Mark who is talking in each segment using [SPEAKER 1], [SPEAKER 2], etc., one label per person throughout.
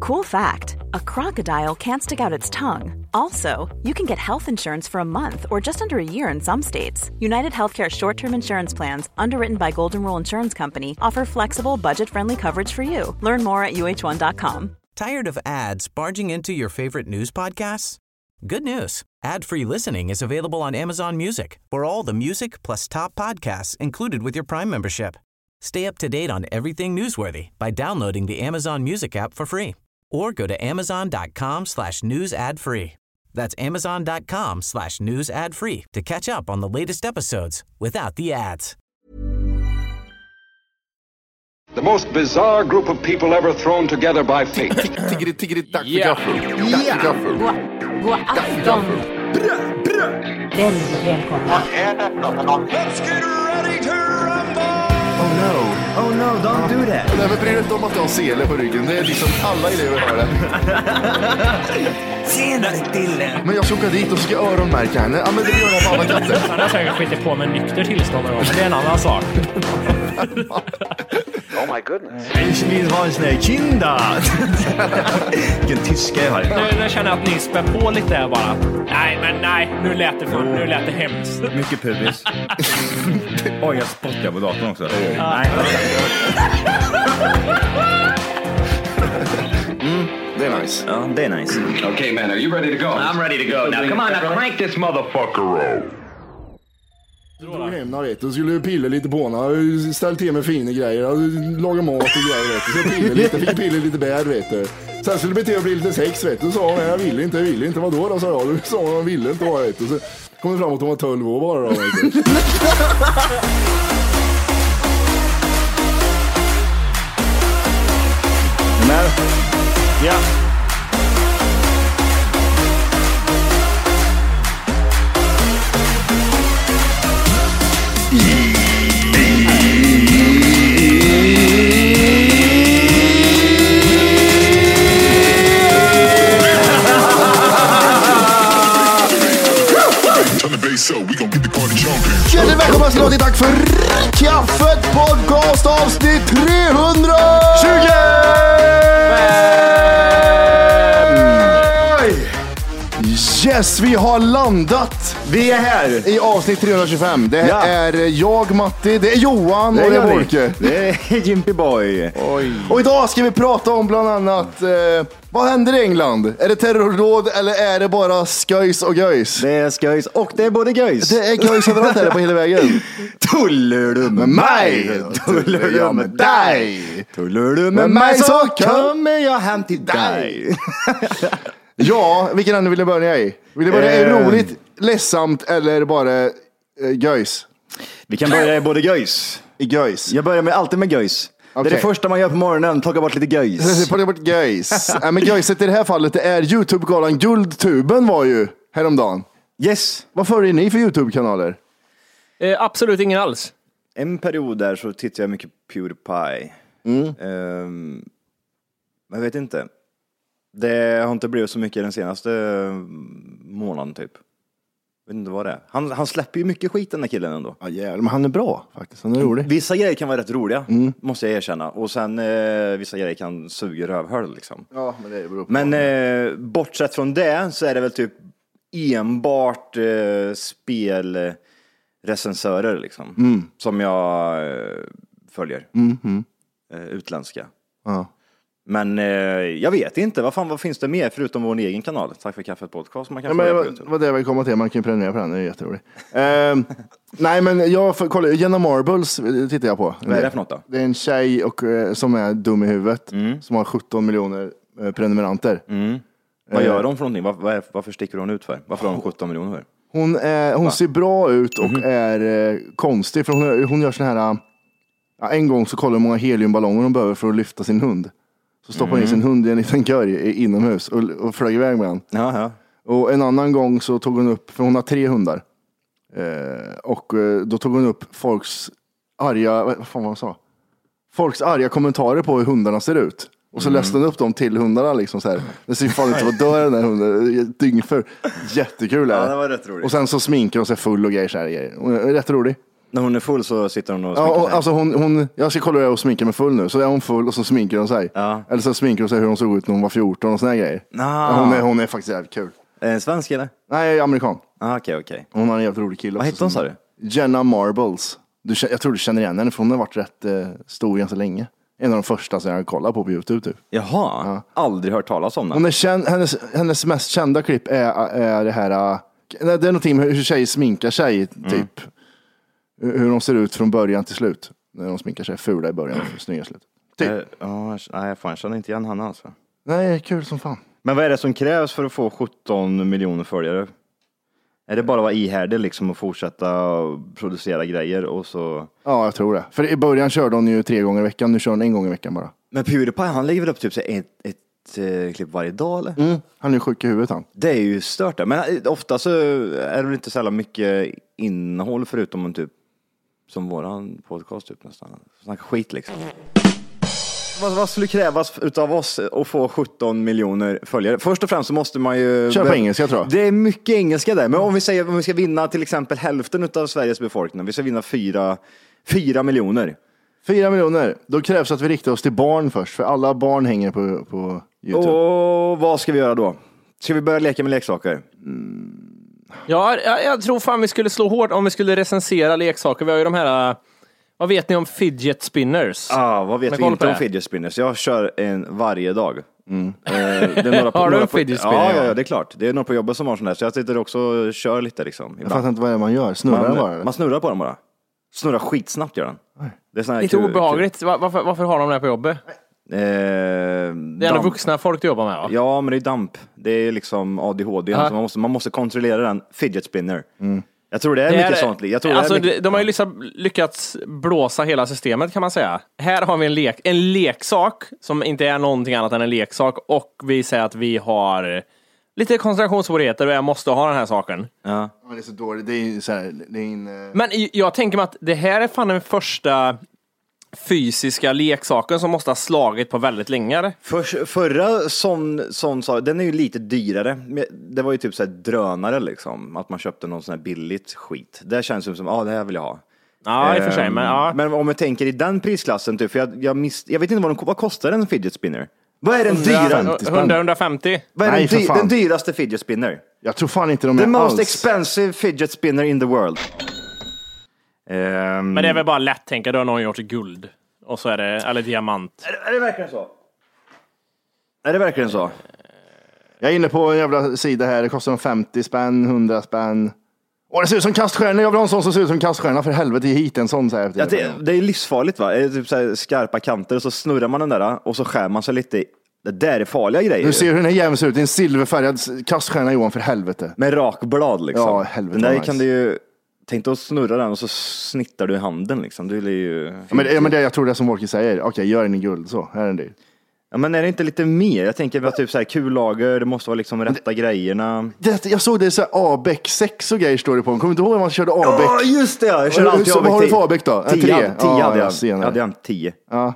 [SPEAKER 1] Cool fact a crocodile can't stick out its tongue. Also, you can get health insurance for a month or just under a year in some states. United Healthcare short term insurance plans, underwritten by Golden Rule Insurance Company, offer flexible, budget friendly coverage for you. Learn more at uh1.com.
[SPEAKER 2] Tired of ads barging into your favorite news podcasts? Good news. Ad-free listening is available on Amazon Music. For all the music plus top podcasts included with your Prime membership. Stay up to date on everything newsworthy by downloading the Amazon Music app for free or go to amazon.com slash news ad free. That's amazon.com slash news ad free to catch up on the latest episodes without the ads.
[SPEAKER 3] The most bizarre group of people ever thrown together by fate.
[SPEAKER 4] Tiggeri, tiggeri, dack för
[SPEAKER 5] Ja.
[SPEAKER 4] gaffel. Dack för gaffel.
[SPEAKER 6] God, god afton! Väldigt välkomna.
[SPEAKER 4] Oh no. Oh,
[SPEAKER 7] Oh no, don't do that!
[SPEAKER 4] Nej, men bry dig inte om att jag har sele på ryggen. Det är liksom alla elever har det.
[SPEAKER 7] Tjenare Dille!
[SPEAKER 4] Men jag ska åka dit och ska öronmärka henne. Ja, men det gör jag på alla katter.
[SPEAKER 5] Han har säkert skitit på med nykter tillstånd någon gång, men det är en annan sak.
[SPEAKER 7] Ich will ha en sån här kinda! Vilken tyska jag har.
[SPEAKER 5] Nu, nu känner jag att ni spär på lite här bara. Nej, men nej, nu lät det, för, nu lät det hemskt.
[SPEAKER 8] Mycket pubis. Oj, jag spottar på datorn också. Nej.
[SPEAKER 4] Det är nice.
[SPEAKER 8] Ja, det är nice.
[SPEAKER 3] okay, man, are you ready to go?
[SPEAKER 8] I'm ready to go now. Come on, now crank this motherfucker up.
[SPEAKER 4] Jag drog hem där, vet du, och skulle pilla lite på henne. Jag Ställde till med fina grejer. Jag Lagade mat och grejer vet du. Så jag pillade lite, fick pilla lite bär vet du. Sen skulle det bli till att bli lite sex vet du. Så sa hon, nej jag vill inte, jag vill inte. Vadå då sa jag. Då sa hon, jag ville inte bara vet du. Så kom det fram att hon var 12 år bara då. Vet du.
[SPEAKER 7] Men, ja.
[SPEAKER 4] Hjärtligt välkomna ska ni vara till Tack för kaffet podcast avsnitt 300! 20! Yes, vi har landat
[SPEAKER 7] Vi är här!
[SPEAKER 4] i avsnitt 325. Det
[SPEAKER 7] Ja.
[SPEAKER 4] är jag, Matti, det är Johan och det
[SPEAKER 7] gör
[SPEAKER 4] är
[SPEAKER 7] vi.
[SPEAKER 4] Wolke.
[SPEAKER 7] Det är Jimpy Boy.
[SPEAKER 4] Och idag ska vi prata om bland annat, eh, vad händer i England? Är det terrordåd eller är det bara sköjs och göjs?
[SPEAKER 7] Det är sköjs och det är både göjs.
[SPEAKER 4] Det är göjs överallt här på hela vägen.
[SPEAKER 7] Tuller du med mig? Tuller du med dig? Tuller du med mig så kommer jag hem till dig.
[SPEAKER 4] Ja, vilken ände vill du börja i? Vill du börja i
[SPEAKER 7] Eh.
[SPEAKER 4] roligt, ledsamt eller bara eh, göjs?
[SPEAKER 7] Vi kan börja i både göjs.
[SPEAKER 4] I göjs.
[SPEAKER 7] Jag börjar med, alltid med göjs. Det
[SPEAKER 4] Okej.
[SPEAKER 7] är det första man gör på morgonen, plocka bort lite göjs.
[SPEAKER 4] På det bort göjs. Nej, men göjset i det här fallet det är Youtube-galan Guldtuben var ju häromdagen.
[SPEAKER 7] Yes.
[SPEAKER 4] Vad följer ni för Youtube-kanaler?
[SPEAKER 5] Eh, absolut ingen alls.
[SPEAKER 7] En period där så tittade jag mycket på Pewdiepie. Ehm, men jag vet inte. Det har inte blivit så mycket den senaste månaden typ. vet inte vad det är. Han, han släpper ju mycket skit den där killen ändå.
[SPEAKER 4] Ja jävlar, men han är bra faktiskt. Han är rolig.
[SPEAKER 7] Vissa grejer kan vara rätt roliga,
[SPEAKER 4] Mm.
[SPEAKER 7] måste jag erkänna. Och sen eh, vissa grejer kan suga rövhål liksom.
[SPEAKER 4] Ja, men det beror på.
[SPEAKER 7] Men eh, bortsett från det så är det väl typ enbart eh, spelrecensörer liksom.
[SPEAKER 4] Mm.
[SPEAKER 7] Som jag eh, följer.
[SPEAKER 4] Mm-hmm.
[SPEAKER 7] Eh, utländska.
[SPEAKER 4] Ja.
[SPEAKER 7] Men eh, jag vet inte, vad fan vad finns det mer förutom vår egen kanal? Tack för kaffet podcast som man kan
[SPEAKER 4] Ja,
[SPEAKER 7] följa
[SPEAKER 4] men
[SPEAKER 7] på
[SPEAKER 4] vad,
[SPEAKER 7] Youtube.
[SPEAKER 4] vad det jag vill komma till, man kan ju prenumerera på den, det är jätteroligt. Ehm, nej men jag för- kollar, Jenna Marbles eh, tittar jag på.
[SPEAKER 7] Vad är det för något då? Mm.
[SPEAKER 4] Det är en tjej och, eh, som är dum i huvudet, som har 17 miljoner eh, prenumeranter. Eh,
[SPEAKER 7] Vad gör de för någonting? Vad, vad är, varför sticker hon ut för? Varför har hon Mhm. 17 miljoner för?
[SPEAKER 4] Hon, är, hon ser bra ut och är eh, konstig, för hon, är- hon gör sån här... eh, Ja, en gång så kollar hon hur många heliumballonger hon behöver för att lyfta sin hund. Så stoppar
[SPEAKER 7] Mm.
[SPEAKER 4] hon in sin hund i en liten görj i- inomhus och, och flög iväg med den.
[SPEAKER 7] Ja, ja.
[SPEAKER 4] Och en annan gång så tog hon upp, för hon har tre hundar. Eh, och eh, då tog hon upp folks arga, vad vad fan var hon sa? Folks arga kommentarer på hur hundarna ser ut. Och
[SPEAKER 7] Mm.
[SPEAKER 4] så läste hon upp dem till hundarna liksom så här. Det ser fan ut som att dö den här hunden, dyngför. Jättekul är
[SPEAKER 7] Ja, det var rätt roligt.
[SPEAKER 4] Och sen så sminkar hon sig full och grejer så här. grejer. Hon är Rätt rolig.
[SPEAKER 7] När hon är full så sitter hon och
[SPEAKER 4] Ja,
[SPEAKER 7] sminkar
[SPEAKER 4] och,
[SPEAKER 7] sig.
[SPEAKER 4] alltså hon, hon, jag ska kolla hur jag är och sminka mig full nu. Så är hon full och så sminkar hon sig.
[SPEAKER 7] Ja.
[SPEAKER 4] Eller så sminkar hon sig hur hon såg ut när hon var 14 och såna här grejer.
[SPEAKER 7] Ah.
[SPEAKER 4] Hon, är, hon är faktiskt jävligt kul.
[SPEAKER 7] Är det en Eh, svensk eller?
[SPEAKER 4] Nej, amerikan.
[SPEAKER 7] Ah, Okej, okej.
[SPEAKER 4] Hon har en jävligt rolig kille
[SPEAKER 7] Vad
[SPEAKER 4] också
[SPEAKER 7] hette hon,
[SPEAKER 4] som-
[SPEAKER 7] sa du?
[SPEAKER 4] Jenna Marbles. Du, kä- jag tror du känner igen henne för hon har varit rätt eh, stor ganska länge. En av de första som jag kollade på på Youtube. Typ.
[SPEAKER 7] Jaha, aldrig hört talas om
[SPEAKER 4] Hon
[SPEAKER 7] den.
[SPEAKER 4] är känd, hennes, hennes mest kända klipp är, är det här, eh, nej, det är någonting med hur tjejer sminkar sig,
[SPEAKER 7] Mm.
[SPEAKER 4] typ. Hur hur de ser ut från början till slut. När de sminkar sig fula i början och snygga i slutet. Typ.
[SPEAKER 7] Eh, ja, Nej, fan, jag känner inte igen henne alltså.
[SPEAKER 4] Nej, kul som fan.
[SPEAKER 7] Men vad är det som krävs för att få 17 miljoner följare? Är det bara att vara ihärdig liksom och fortsätta och producera grejer och så?
[SPEAKER 4] Ja, jag tror det. För i början körde hon ju tre gånger i veckan, nu kör hon en gång i veckan bara.
[SPEAKER 7] Men Pewdiepie, han lägger väl upp typ så här ett, ett eh, klipp varje dag eller?
[SPEAKER 4] Han är ju sjuk i huvudet han.
[SPEAKER 7] Det är ju stört det. Men eh, ofta så är det väl inte sällan mycket innehåll förutom en typ som våran podcast typ nästan. Snacka skit liksom. Vad, vad skulle krävas utav oss att få 17 miljoner följare? Först och främst så måste man ju...
[SPEAKER 4] Kör på engelska, tror jag.
[SPEAKER 7] Det är mycket engelska där. Men om vi säger om vi ska vinna till exempel hälften utav Sveriges befolkning. Vi ska vinna fyra, fyra miljoner.
[SPEAKER 4] Fyra miljoner, då krävs att vi riktar oss till barn först, för alla barn hänger på, på YouTube.
[SPEAKER 7] Och vad ska vi göra då? Ska vi börja leka med leksaker?
[SPEAKER 5] Ja, jag, jag tror fan vi skulle slå hårt om vi skulle recensera leksaker. Vi har ju de här, äh, vad vet ni om fidget spinners?
[SPEAKER 7] Ah, vad vet
[SPEAKER 5] Men
[SPEAKER 7] vi
[SPEAKER 5] koll på
[SPEAKER 7] inte om
[SPEAKER 5] det.
[SPEAKER 7] fidget spinners? Jag kör en varje dag. Eh, det är några på,
[SPEAKER 5] Har du
[SPEAKER 7] några
[SPEAKER 5] en
[SPEAKER 7] på,
[SPEAKER 5] fidget spinner?
[SPEAKER 7] Ja, ja, ja, det är klart. Det är några på jobbet som har sån där, så jag sitter också och kör lite liksom.
[SPEAKER 4] Jag
[SPEAKER 7] ibland.
[SPEAKER 4] fattar inte vad det är man gör, snurrar den bara?
[SPEAKER 7] Man,
[SPEAKER 4] eller?
[SPEAKER 7] man snurrar på dem bara. Snurrar skitsnabbt gör den. Det är sån här
[SPEAKER 5] Lite
[SPEAKER 8] typ,
[SPEAKER 7] kul-
[SPEAKER 5] obehagligt. Va- Varför, varför har de det på jobbet?
[SPEAKER 7] kul- Eh,
[SPEAKER 5] Det är ändå
[SPEAKER 7] damp.
[SPEAKER 5] vuxna folk du jobbar med va?
[SPEAKER 7] Ja, men det är damp. Det är liksom ADHD.
[SPEAKER 5] Ja.
[SPEAKER 7] Så man, måste, man måste kontrollera den. Fidget spinner.
[SPEAKER 4] Mm.
[SPEAKER 7] Jag tror det är, mycket sånt. Jag tror
[SPEAKER 5] alltså,
[SPEAKER 7] det är mycket...
[SPEAKER 5] de- De har ju liksom lyckats blåsa hela systemet kan man säga. Här har vi en, lek, en leksak som inte är någonting annat än en leksak och vi säger att vi har lite koncentrationssvårigheter och jag måste ha den här saken.
[SPEAKER 4] Ja, men det är så dåligt, det är ju så här, det är en, eh,
[SPEAKER 5] Men i- jag tänker mig att det här är fan den första fysiska leksaken som måste ha slagit på väldigt länge. eller?
[SPEAKER 7] För, förra sån, sån sa, den är ju lite dyrare. Men Det var ju typ så här drönare liksom, att man köpte någon sån här billigt skit. Det känns ju som, ja ah, det här vill jag ha.
[SPEAKER 5] Ja, i och för sig. Men, ja.
[SPEAKER 7] Men om jag tänker i den prisklassen, typ, för jag, jag, miss, jag vet inte vad, de, vad kostar en fidget spinner? Vad är den dyra?
[SPEAKER 4] 150 spänn.
[SPEAKER 5] 100-150.
[SPEAKER 7] Vad är
[SPEAKER 4] Nej,
[SPEAKER 7] den,
[SPEAKER 4] för
[SPEAKER 7] dy,
[SPEAKER 4] fan.
[SPEAKER 7] den dyraste fidget spinner?
[SPEAKER 4] Jag tror fan inte de
[SPEAKER 7] The
[SPEAKER 4] är
[SPEAKER 7] most
[SPEAKER 4] alls.
[SPEAKER 7] expensive fidget spinner in the world. Ehm,
[SPEAKER 5] Men det är väl bara lätt tänka, då har någon gjort guld. Och så är det, eller diamant.
[SPEAKER 7] är det verkligen så? Är det verkligen så?
[SPEAKER 4] Jag är inne på en jävla sida här, det kostar dem 50 spänn, 100 spänn. Åh, det ser ut som kaststjärnor, jag vill ha en sån som ser ut som kaststjärna, för helvete hit en sån. Så här,
[SPEAKER 7] Ja, det, det är livsfarligt va? Det är typ så här skarpa kanter och så snurrar man den där och så skär man sig lite. i- Det där är farliga grejer.
[SPEAKER 4] Du ser hur den här jäveln ser ut, det är en silverfärgad s- kaststjärna Johan, för helvete.
[SPEAKER 7] Med rakblad liksom.
[SPEAKER 4] Ja, helvete,
[SPEAKER 7] den där
[SPEAKER 4] nice.
[SPEAKER 7] kan du ju... Tänk dig att snurra den och så snittar du i handen liksom. Du blir ju...
[SPEAKER 4] Ja, men, ja, men det, jag tror det är som Walker säger, okej gör den i guld, så, här är den dyr.
[SPEAKER 7] Ja, men är det inte lite mer? Jag tänker bara typ så här kullager, det måste vara liksom rätta grejerna.
[SPEAKER 4] Det, jag såg det så här Abeck 6 och grejer står det på. Kommer du inte ihåg när man körde E Abeck?
[SPEAKER 7] Ja, just det! Jag
[SPEAKER 4] Så
[SPEAKER 7] kör alltid
[SPEAKER 4] vad har du
[SPEAKER 7] ABEC-10.
[SPEAKER 4] för ABEC då? En
[SPEAKER 7] Tio,
[SPEAKER 4] trea?
[SPEAKER 7] hade- tio
[SPEAKER 4] Ja,
[SPEAKER 7] hade
[SPEAKER 4] ja,
[SPEAKER 7] jag.
[SPEAKER 4] senare.
[SPEAKER 7] hade jag en tio.
[SPEAKER 4] Ja.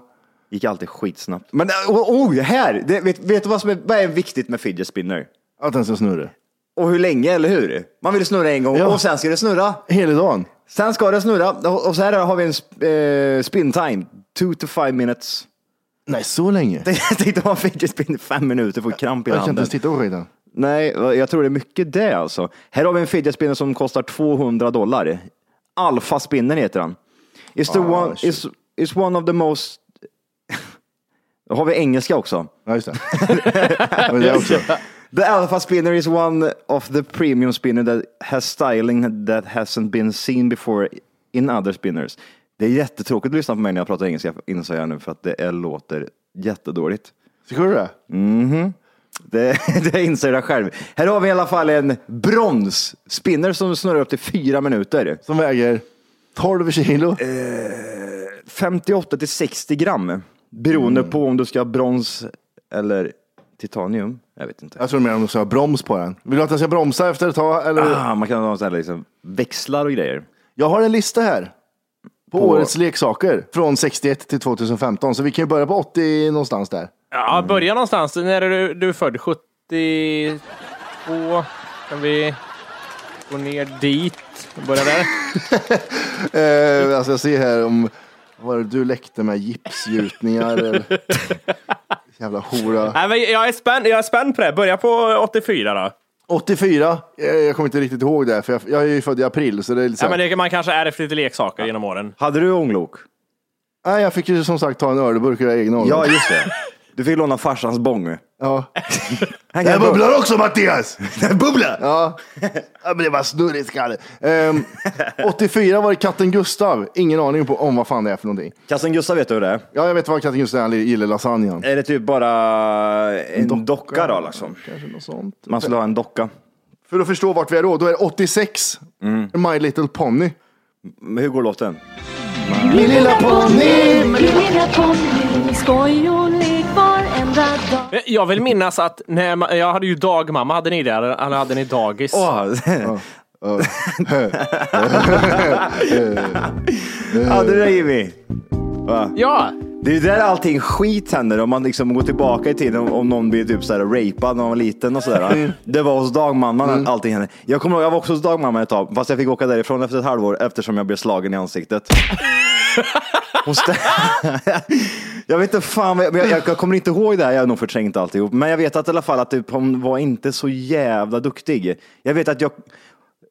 [SPEAKER 7] Gick alltid skitsnabbt. Men oh, oh, här! Det, vet, vet du vad som är, vad är viktigt med fidget spinner?
[SPEAKER 4] Att den ska snurra.
[SPEAKER 7] Och hur länge, eller hur? Man vill snurra en gång
[SPEAKER 4] Ja.
[SPEAKER 7] och sen ska det snurra.
[SPEAKER 4] Hela dagen.
[SPEAKER 7] Sen ska det snurra och och så här har vi en sp- eh, spin time, two to five minutes.
[SPEAKER 4] Nej, så länge.
[SPEAKER 7] Jag tänkte ha en fidget spin i fem minuter, får kramp i
[SPEAKER 4] jag kan inte
[SPEAKER 7] handen.
[SPEAKER 4] ens titta på skiten.
[SPEAKER 7] Nej, jag tror det är mycket det alltså. Här har vi en fidget spinner som kostar 200 dollar. Alfa spinner heter den. It's, the one,
[SPEAKER 4] Ah, shit.
[SPEAKER 7] it's, it's one of the most... Då har vi engelska också.
[SPEAKER 4] Ja, just det. Ja, men det är också.
[SPEAKER 7] The Alpha Spinner is one of the premium spinner that has styling that hasn't been seen before in other spinners. Det är jättetråkigt att lyssna på mig när jag pratar engelska, inser jag nu, för att det är, låter jättedåligt.
[SPEAKER 4] Tycker du det?
[SPEAKER 7] Det, det inser jag själv. Här har vi i alla fall en bronsspinner som snurrar upp till fyra minuter.
[SPEAKER 4] Som väger 12 kilo.
[SPEAKER 7] 58 Eh, till 60 gram, beroende på om du ska ha brons eller titanium. Jag vet inte.
[SPEAKER 4] Jag tror mer om du ska ha broms på den. Vill du att den ska bromsa efter ett tag? Eller?
[SPEAKER 7] Ah, man kan ha sån här liksom, växlar och grejer.
[SPEAKER 4] Jag har en lista här. På,
[SPEAKER 7] På-
[SPEAKER 4] årets leksaker. Från 61 till 2015. Så vi kan ju börja på 80 någonstans där.
[SPEAKER 5] Ja, börja någonstans. När är du, du är född? 72? Kan vi... Gå ner dit. Börja där.
[SPEAKER 4] Eh, alltså jag ser här om vad var det du läckte med gipsgjutningar. eller- Jävla hora.
[SPEAKER 5] Nej, men jag, är spänd, jag är spänd på det. Börja på 84 då.
[SPEAKER 4] 84, eh, jag kommer inte riktigt ihåg det, för jag, jag är ju född i april. Så det är lite så
[SPEAKER 5] Ja,
[SPEAKER 4] här,
[SPEAKER 5] men det, man kanske ärvt lite leksaker genom åren.
[SPEAKER 7] Hade du ånglok?
[SPEAKER 4] Nej, jag fick ju som sagt ta en ölburk och göra egna
[SPEAKER 7] Ja,
[SPEAKER 4] ånglok.
[SPEAKER 7] just det. Du fick låna farsans bång.
[SPEAKER 4] ja.
[SPEAKER 7] Han
[SPEAKER 4] Det
[SPEAKER 7] kan-
[SPEAKER 4] bubblar också Mattias!
[SPEAKER 7] Bubbla!
[SPEAKER 4] Ja, Ja, men det var snurrigt skalle. Ehm, 84 var det katten Gustav. Ingen aning på, om vad fan det är för någonting.
[SPEAKER 7] Kassen Gustav vet du hur det är.
[SPEAKER 4] Ja, jag vet vad katten Gustav är. Han gillar lasagnen.
[SPEAKER 7] Är det typ bara en docka, då liksom?
[SPEAKER 4] Kanske något sånt.
[SPEAKER 7] Man skulle ha en docka.
[SPEAKER 4] För att förstå vart vi är då, då är det 86. My Little Pony.
[SPEAKER 7] Men hur går låten?
[SPEAKER 4] Min lilla pony!
[SPEAKER 6] Skoj och lek varenda dag.
[SPEAKER 5] Men Jag vill minnas att när man, jag hade ju dagmamma, hade ni det? Eller eller hade ni dagis?
[SPEAKER 7] ja, det där Jimmy.
[SPEAKER 5] Ja!
[SPEAKER 7] Det är ju där allting skit händer om man liksom går tillbaka i tiden om- om någon blir typ så här rapad när man var liten och sådär. Det var hos dagmamman allting hände. Jag kommer ihåg, jag var också hos dagmamman ett tag, fast jag fick åka därifrån efter ett halvår eftersom jag blev slagen i ansiktet. Hon stä- jag vet inte fan, vad jag, men jag, jag kommer inte ihåg det här, jag har nog förträngt alltihop. Men jag vet att i alla fall att typ, hon var inte så jävla duktig. Jag vet att jag,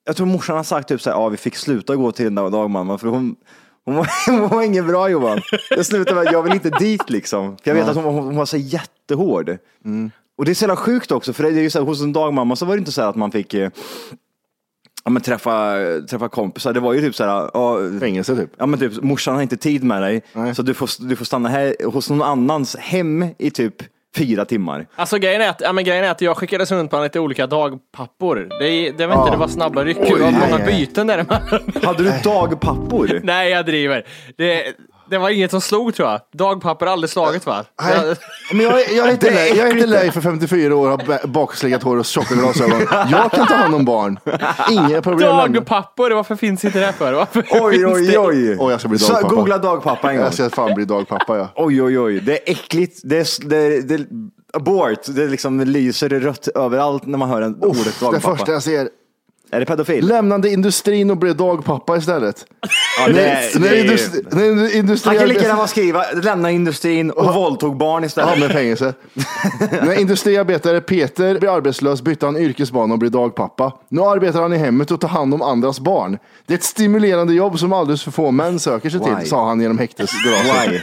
[SPEAKER 7] jag tror morsan har sagt typ så här, ja vi fick sluta gå till den där dagmamman för hon, hon, var, hon var ingen bra Johan. Det slutade med att jag vill inte dit liksom. För jag vet att hon, hon var så jättehård. Och det är så jävla sjukt också, för det är ju så här, hos en dagmamma så var det inte så här att man fick eh, ja, men träffa, träffa kompisar. Det var ju typ så här, ja,
[SPEAKER 4] Fängelse typ.
[SPEAKER 7] Ja men typ, morsan har inte tid med dig,
[SPEAKER 4] Nej.
[SPEAKER 7] så du får, du får stanna här hos någon annans hem i typ fyra timmar.
[SPEAKER 5] Alltså grejen är att, ja, men grejen är att jag skickades runt på lite olika dagpappor. Det, det var inte det var snabba ryck, det var många byten däremellan.
[SPEAKER 7] Hade du dagpappor?
[SPEAKER 5] Nej, jag driver. Det, det var inget som slog tror jag. Dagpapper har aldrig slagit va?
[SPEAKER 4] Nej, men jag, jag är inte lej, jag är inte lej för 54 år, har ba- bakslickat hår och tjocka glasögon. Jag kan ta hand om barn. Inga problem.
[SPEAKER 5] Dagpappor, varför finns inte det här för? Varför
[SPEAKER 7] Oj,
[SPEAKER 5] finns
[SPEAKER 7] oj,
[SPEAKER 5] det-
[SPEAKER 7] oj.
[SPEAKER 4] Oj, jag ska bli
[SPEAKER 7] Så
[SPEAKER 4] dagpappa. Alltså,
[SPEAKER 7] Googla dagpappa en gång.
[SPEAKER 4] Jag ska fan bli dagpappa ja.
[SPEAKER 7] Oj, oj, oj. Det är äckligt. Det, är, det, är, det är abort. Det liksom lyser rött överallt när man hör en ordet
[SPEAKER 4] Det
[SPEAKER 7] dagpappa.
[SPEAKER 4] första jag ser.
[SPEAKER 7] Är det pedofil?
[SPEAKER 4] Lämnande industrin och blev dagpappa istället.
[SPEAKER 7] ja, det,
[SPEAKER 4] Nej,
[SPEAKER 7] det är ju...
[SPEAKER 4] industri, nej, industri,
[SPEAKER 7] Han kan lika gärna bara skriva lämna industrin och våldtog barn
[SPEAKER 4] Ja,
[SPEAKER 7] istället.
[SPEAKER 4] med fängelse. När industriarbetare Peter blev arbetslös bytte han yrkesbana och blev dagpappa. Nu arbetar han i hemmet och tar hand om andras barn. Det är ett stimulerande jobb som alldeles för få män söker sig
[SPEAKER 7] Why?
[SPEAKER 4] till, sa han genom häktesglaset.
[SPEAKER 7] Why?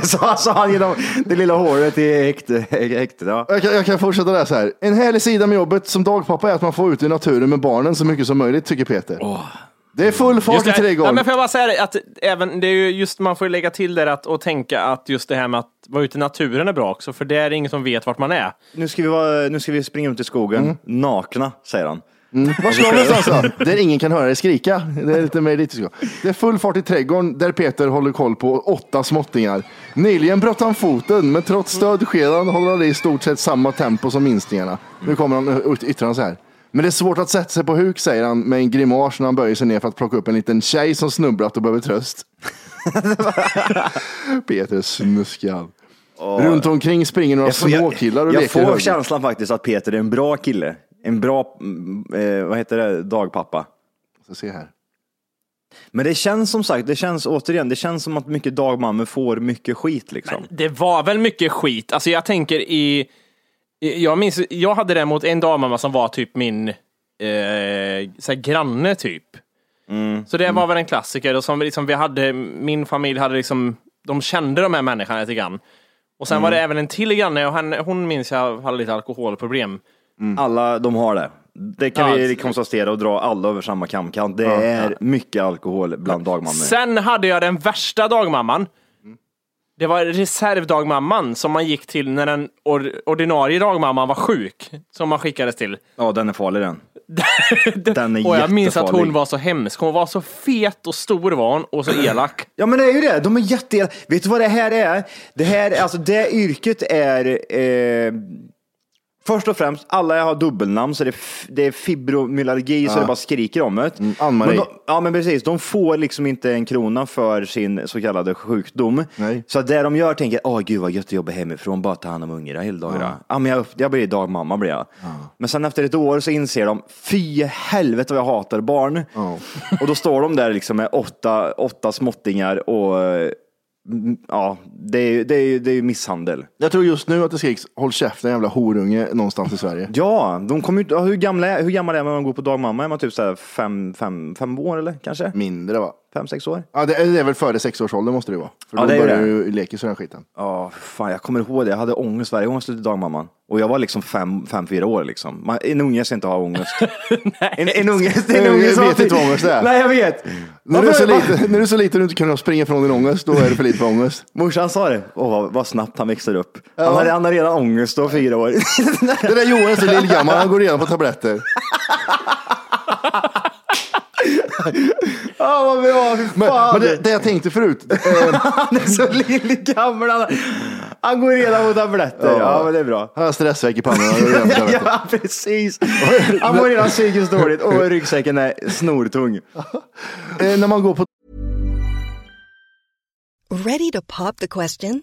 [SPEAKER 7] så, så han genom det lilla håret i häkte- häktet. Ja.
[SPEAKER 4] Jag kan, jag kan fortsätta läsa här. En härlig sida med jobbet som dagpappa är att man får ut i naturen med barnen så mycket som möjligt, tycker Peter. Det är full fart
[SPEAKER 5] Just
[SPEAKER 4] i
[SPEAKER 5] det, ja,
[SPEAKER 4] trädgården.
[SPEAKER 5] men får jag bara säga det, att även, det är ju just, man får ju lägga till där att, och tänka att just det här med att vara ute i naturen är bra också, för det är ingen som vet vart man är.
[SPEAKER 7] Nu, ska vi vara, nu ska vi springa ut i skogen
[SPEAKER 4] Mm.
[SPEAKER 7] nakna, säger han.
[SPEAKER 4] Var ska du någonstans då? Där ingen kan höra dig skrika. Det är lite mer lite så. Det är full fart i trädgården där Peter håller koll på åtta småttingar. Nyligen bröt han foten, men trots stödskedan håller han i stort sett samma tempo som minstningarna. Nu kommer han och yttrar han så här. Men det är svårt att sätta sig på huk, säger han med en grimas när han böjer sig ner för att plocka upp en liten tjej som snubblat och behöver tröst. Peter snuskad. Runt omkring springer några småkillar och
[SPEAKER 7] jag, jag
[SPEAKER 4] leker i
[SPEAKER 7] får
[SPEAKER 4] högen.
[SPEAKER 7] känslan faktiskt att Peter är en bra kille. En bra, mm, eh, vad heter det, dagpappa.
[SPEAKER 4] Så Se här.
[SPEAKER 7] Men det känns som sagt, det känns återigen, det känns som att mycket dagmammor får mycket skit liksom.
[SPEAKER 5] Det var väl mycket skit. Alltså jag tänker i... i- Jag minns, jag hade däremot en dammamma som var typ min eh, så här granne typ. Så det var väl en klassiker. Och som liksom vi hade, min familj hade liksom, de kände de här människorna lite grann. Och sen var det även en till granne och henne, hon minns jag hade lite alkoholproblem.
[SPEAKER 4] Mm.
[SPEAKER 7] Alla, de har det. Det kan
[SPEAKER 5] Ja,
[SPEAKER 7] vi liksom
[SPEAKER 5] alltså.
[SPEAKER 7] konstatera och dra alla över samma kamkant. Det är mycket alkohol bland dagmammor.
[SPEAKER 5] Sen hade jag den värsta dagmamman. Det var reservdagmamman som man gick till när den or- ordinarie dagmamman var sjuk. Som man skickades till.
[SPEAKER 7] Ja, den är farlig den. Den är
[SPEAKER 5] och jag minns att hon
[SPEAKER 7] jättefarlig.
[SPEAKER 5] var så hemsk. Hon var så fet och stor var hon och så elak.
[SPEAKER 7] Ja men det är ju det, de är jätte... Vet du vad det här är? Det här, alltså det yrket är... Eh, Först och främst, alla har dubbelnamn, så det är, f- det är fibromyalgi så det bara skriker om det.
[SPEAKER 4] Ann-Marie.
[SPEAKER 7] Men de, ja, men precis. De får liksom inte en krona för sin så kallade sjukdom.
[SPEAKER 4] Nej.
[SPEAKER 7] Så att det de gör tänker, åh gud vad gött att jobba hemifrån, bara ta hand om ungarna hela dagarna. Ja. men jag, upp- jag blir dagmamma blir jag. Men sen efter ett år så inser de, fy helvete vad jag hatar barn. Och då står de där liksom med åtta, åtta småttingar och eh, m- ja, det är ju det är, ju- det är ju misshandel.
[SPEAKER 4] Jag tror just nu att det skriks håll käften jävla horunge någonstans i Sverige.
[SPEAKER 7] Ja, de kommer ju inte, ja, hur, gamla är, hur gammal är man när man går på dagmamma? Är man typ så här fem, fem, fem år eller kanske?
[SPEAKER 4] Mindre va?
[SPEAKER 7] Fem, sex år?
[SPEAKER 4] Ja, det är, det är väl före sexårsåldern måste det vara. För
[SPEAKER 7] Ja,
[SPEAKER 4] då
[SPEAKER 7] det är
[SPEAKER 4] börjar
[SPEAKER 7] det.
[SPEAKER 4] du leka i den skiten.
[SPEAKER 7] Ja, fan jag kommer ihåg det. Jag hade ångest varje gång jag skulle till dagmamman. Och jag var liksom fem, fem fyra år liksom. Man, en unge ska inte ha ångest. en, en unge, en
[SPEAKER 4] Jag
[SPEAKER 7] unge
[SPEAKER 4] vet
[SPEAKER 7] som har-
[SPEAKER 4] inte vad ångest är.
[SPEAKER 7] Nej, jag vet.
[SPEAKER 4] När du, är
[SPEAKER 7] Varför-
[SPEAKER 4] så
[SPEAKER 7] va-
[SPEAKER 4] liten, när du är så liten du inte kan springa från din ångest, då är det för lite för ångest.
[SPEAKER 7] Morsan sa det. Åh, vad, vad snabbt han växer upp. Han, hade, han hade redan ångest då, fyra år.
[SPEAKER 4] Det där Johan är så lillgammal, han går redan på tabletter.
[SPEAKER 7] Ja, vad bra. fy
[SPEAKER 4] Men,
[SPEAKER 7] fan.
[SPEAKER 4] men det, det jag tänkte förut, eh,
[SPEAKER 7] Han är så lille gammal. Han, han går redan mot tabletter. Ja. men det är bra.
[SPEAKER 4] han har stressvärk i pannan. han går redan på tabletter.
[SPEAKER 7] Ja, precis. Han mår redan psykiskt dåligt och ryggsäcken är snortung.
[SPEAKER 4] Eh, när man går på
[SPEAKER 9] Ready to pop the question?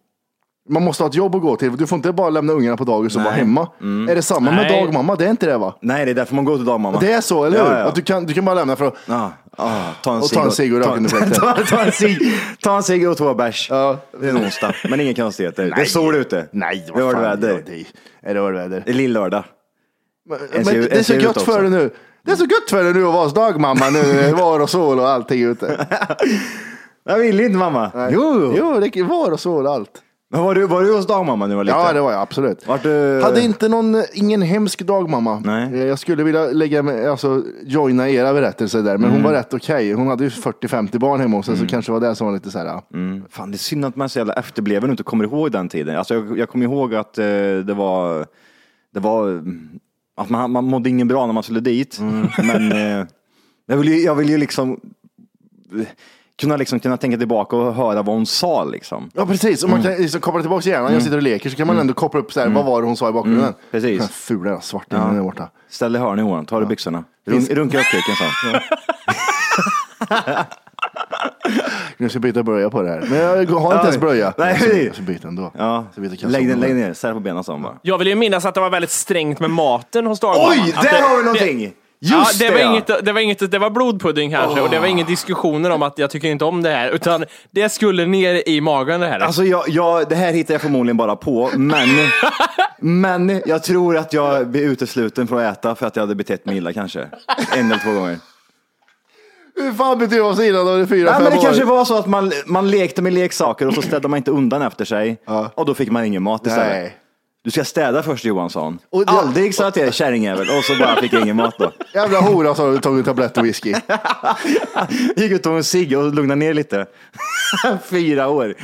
[SPEAKER 4] Man måste ha ett jobb att gå till. Du får inte bara lämna ungarna på dagis och vara hemma.
[SPEAKER 7] Mm.
[SPEAKER 4] Är det samma med
[SPEAKER 5] Nej.
[SPEAKER 4] dagmamma? Det är inte det va?
[SPEAKER 7] Nej, det är därför man går till dagmamma.
[SPEAKER 4] Det är så, eller hur?
[SPEAKER 7] Ja, ja.
[SPEAKER 4] Att du, kan, du kan bara lämna för att...
[SPEAKER 7] Ja, ja, ta en
[SPEAKER 4] Och
[SPEAKER 7] cigg
[SPEAKER 4] ta en cigg och rök
[SPEAKER 7] ta-
[SPEAKER 4] under fläkten.
[SPEAKER 7] ta, ta en cigg ta en cigg och två bärs.
[SPEAKER 4] Ja.
[SPEAKER 7] Det är en onsdag, men inga konstigheter. Det är sol ute.
[SPEAKER 4] Nej,
[SPEAKER 7] det
[SPEAKER 4] vad
[SPEAKER 7] är
[SPEAKER 4] fan.
[SPEAKER 7] väder.
[SPEAKER 4] det är det väder.
[SPEAKER 7] Det är lördag.
[SPEAKER 4] Men,
[SPEAKER 7] Jag
[SPEAKER 4] men
[SPEAKER 7] ser-
[SPEAKER 4] det är
[SPEAKER 7] jag
[SPEAKER 4] så
[SPEAKER 7] ser ut
[SPEAKER 4] gött
[SPEAKER 7] också.
[SPEAKER 4] för dig nu. Det är så gött för dig nu att vara hos dagmamma nu. Var och sol och allting ute.
[SPEAKER 7] Jag vill inte mamma. Jo.
[SPEAKER 4] Jo, det är var och sol och allt.
[SPEAKER 7] Men var, du, var du hos dagmamma när du var liten?
[SPEAKER 4] Ja, det var jag absolut.
[SPEAKER 7] Vart eh, du-
[SPEAKER 4] Hade inte någon, ingen hemsk dagmamma.
[SPEAKER 7] Nej.
[SPEAKER 4] Eh, Jag skulle vilja lägga mig, alltså, joina era berättelser där, men hon var
[SPEAKER 7] Mm.
[SPEAKER 4] rätt okej. Hon hade ju 40-50 barn hemma hos sig, så kanske var det som var lite så här. ja.
[SPEAKER 7] Fan, det är synd att man är så jävla efterbliven och inte kommer ihåg den tiden. Alltså, jag, jag kommer ihåg att eh, det var... Det var mm, att man, man mådde ingen bra när man skulle dit. Men eh, jag, vill ju, jag vill ju liksom eh, kunna, liksom kunna tänka tillbaka och höra vad hon sa. Liksom.
[SPEAKER 4] Ja, precis. Och man kan liksom koppla tillbaka hjärnan.
[SPEAKER 7] Mm.
[SPEAKER 4] Jag sitter och leker, så kan man ändå koppla upp så här, vad var det hon sa i bakgrunden? Mm.
[SPEAKER 7] precis.
[SPEAKER 4] Den fula jävla svartingen där borta.
[SPEAKER 7] Ställ dig i hörnet Johan, ta dig i byxorna. Run,
[SPEAKER 4] Finns-
[SPEAKER 7] runka upp kuken sa han.
[SPEAKER 4] Nu ska jag byta blöja på det här. Men jag har inte ens blöja.
[SPEAKER 7] Nej.
[SPEAKER 4] Jag ska- Jag ska byta ändå.
[SPEAKER 7] Ja.
[SPEAKER 4] Jag ska byta
[SPEAKER 7] Lägg, den,
[SPEAKER 4] kalsonger.
[SPEAKER 7] lägg ner, sär på benen sa hon bara.
[SPEAKER 5] Jag vill ju minnas att det var väldigt strängt med maten hos dagmamman.
[SPEAKER 7] Oj,
[SPEAKER 5] Att
[SPEAKER 7] där
[SPEAKER 5] det-
[SPEAKER 7] har vi någonting!
[SPEAKER 5] det- Ja,
[SPEAKER 7] Just
[SPEAKER 5] det,
[SPEAKER 7] det!
[SPEAKER 5] var inget, det, var inget, det var blodpudding kanske och det var ingen diskussioner om att jag tycker inte om det här utan det skulle ner i magen det här.
[SPEAKER 7] Alltså jag, jag, det här hittar jag förmodligen bara på, men, men jag tror att jag blir utesluten från att äta för att jag hade betett mig illa kanske. En eller två gånger.
[SPEAKER 4] Hur fan beter man sig innan då? Det är fyra,
[SPEAKER 7] Nej,
[SPEAKER 4] fem
[SPEAKER 7] men det
[SPEAKER 4] år.
[SPEAKER 7] kanske var så att man, man lekte med leksaker och så städade man inte undan efter sig och då fick man ingen mat istället.
[SPEAKER 4] Nej.
[SPEAKER 7] Du ska städa först Johansson.
[SPEAKER 4] Och det-
[SPEAKER 7] Aldrig sa jag till er kärringjävel och så bara fick jag ingen mat då.
[SPEAKER 4] Jävla hora så har du tagit tablett och whisky.
[SPEAKER 7] Gick ut och tog en cigg och lugnade ner lite. Fyra år.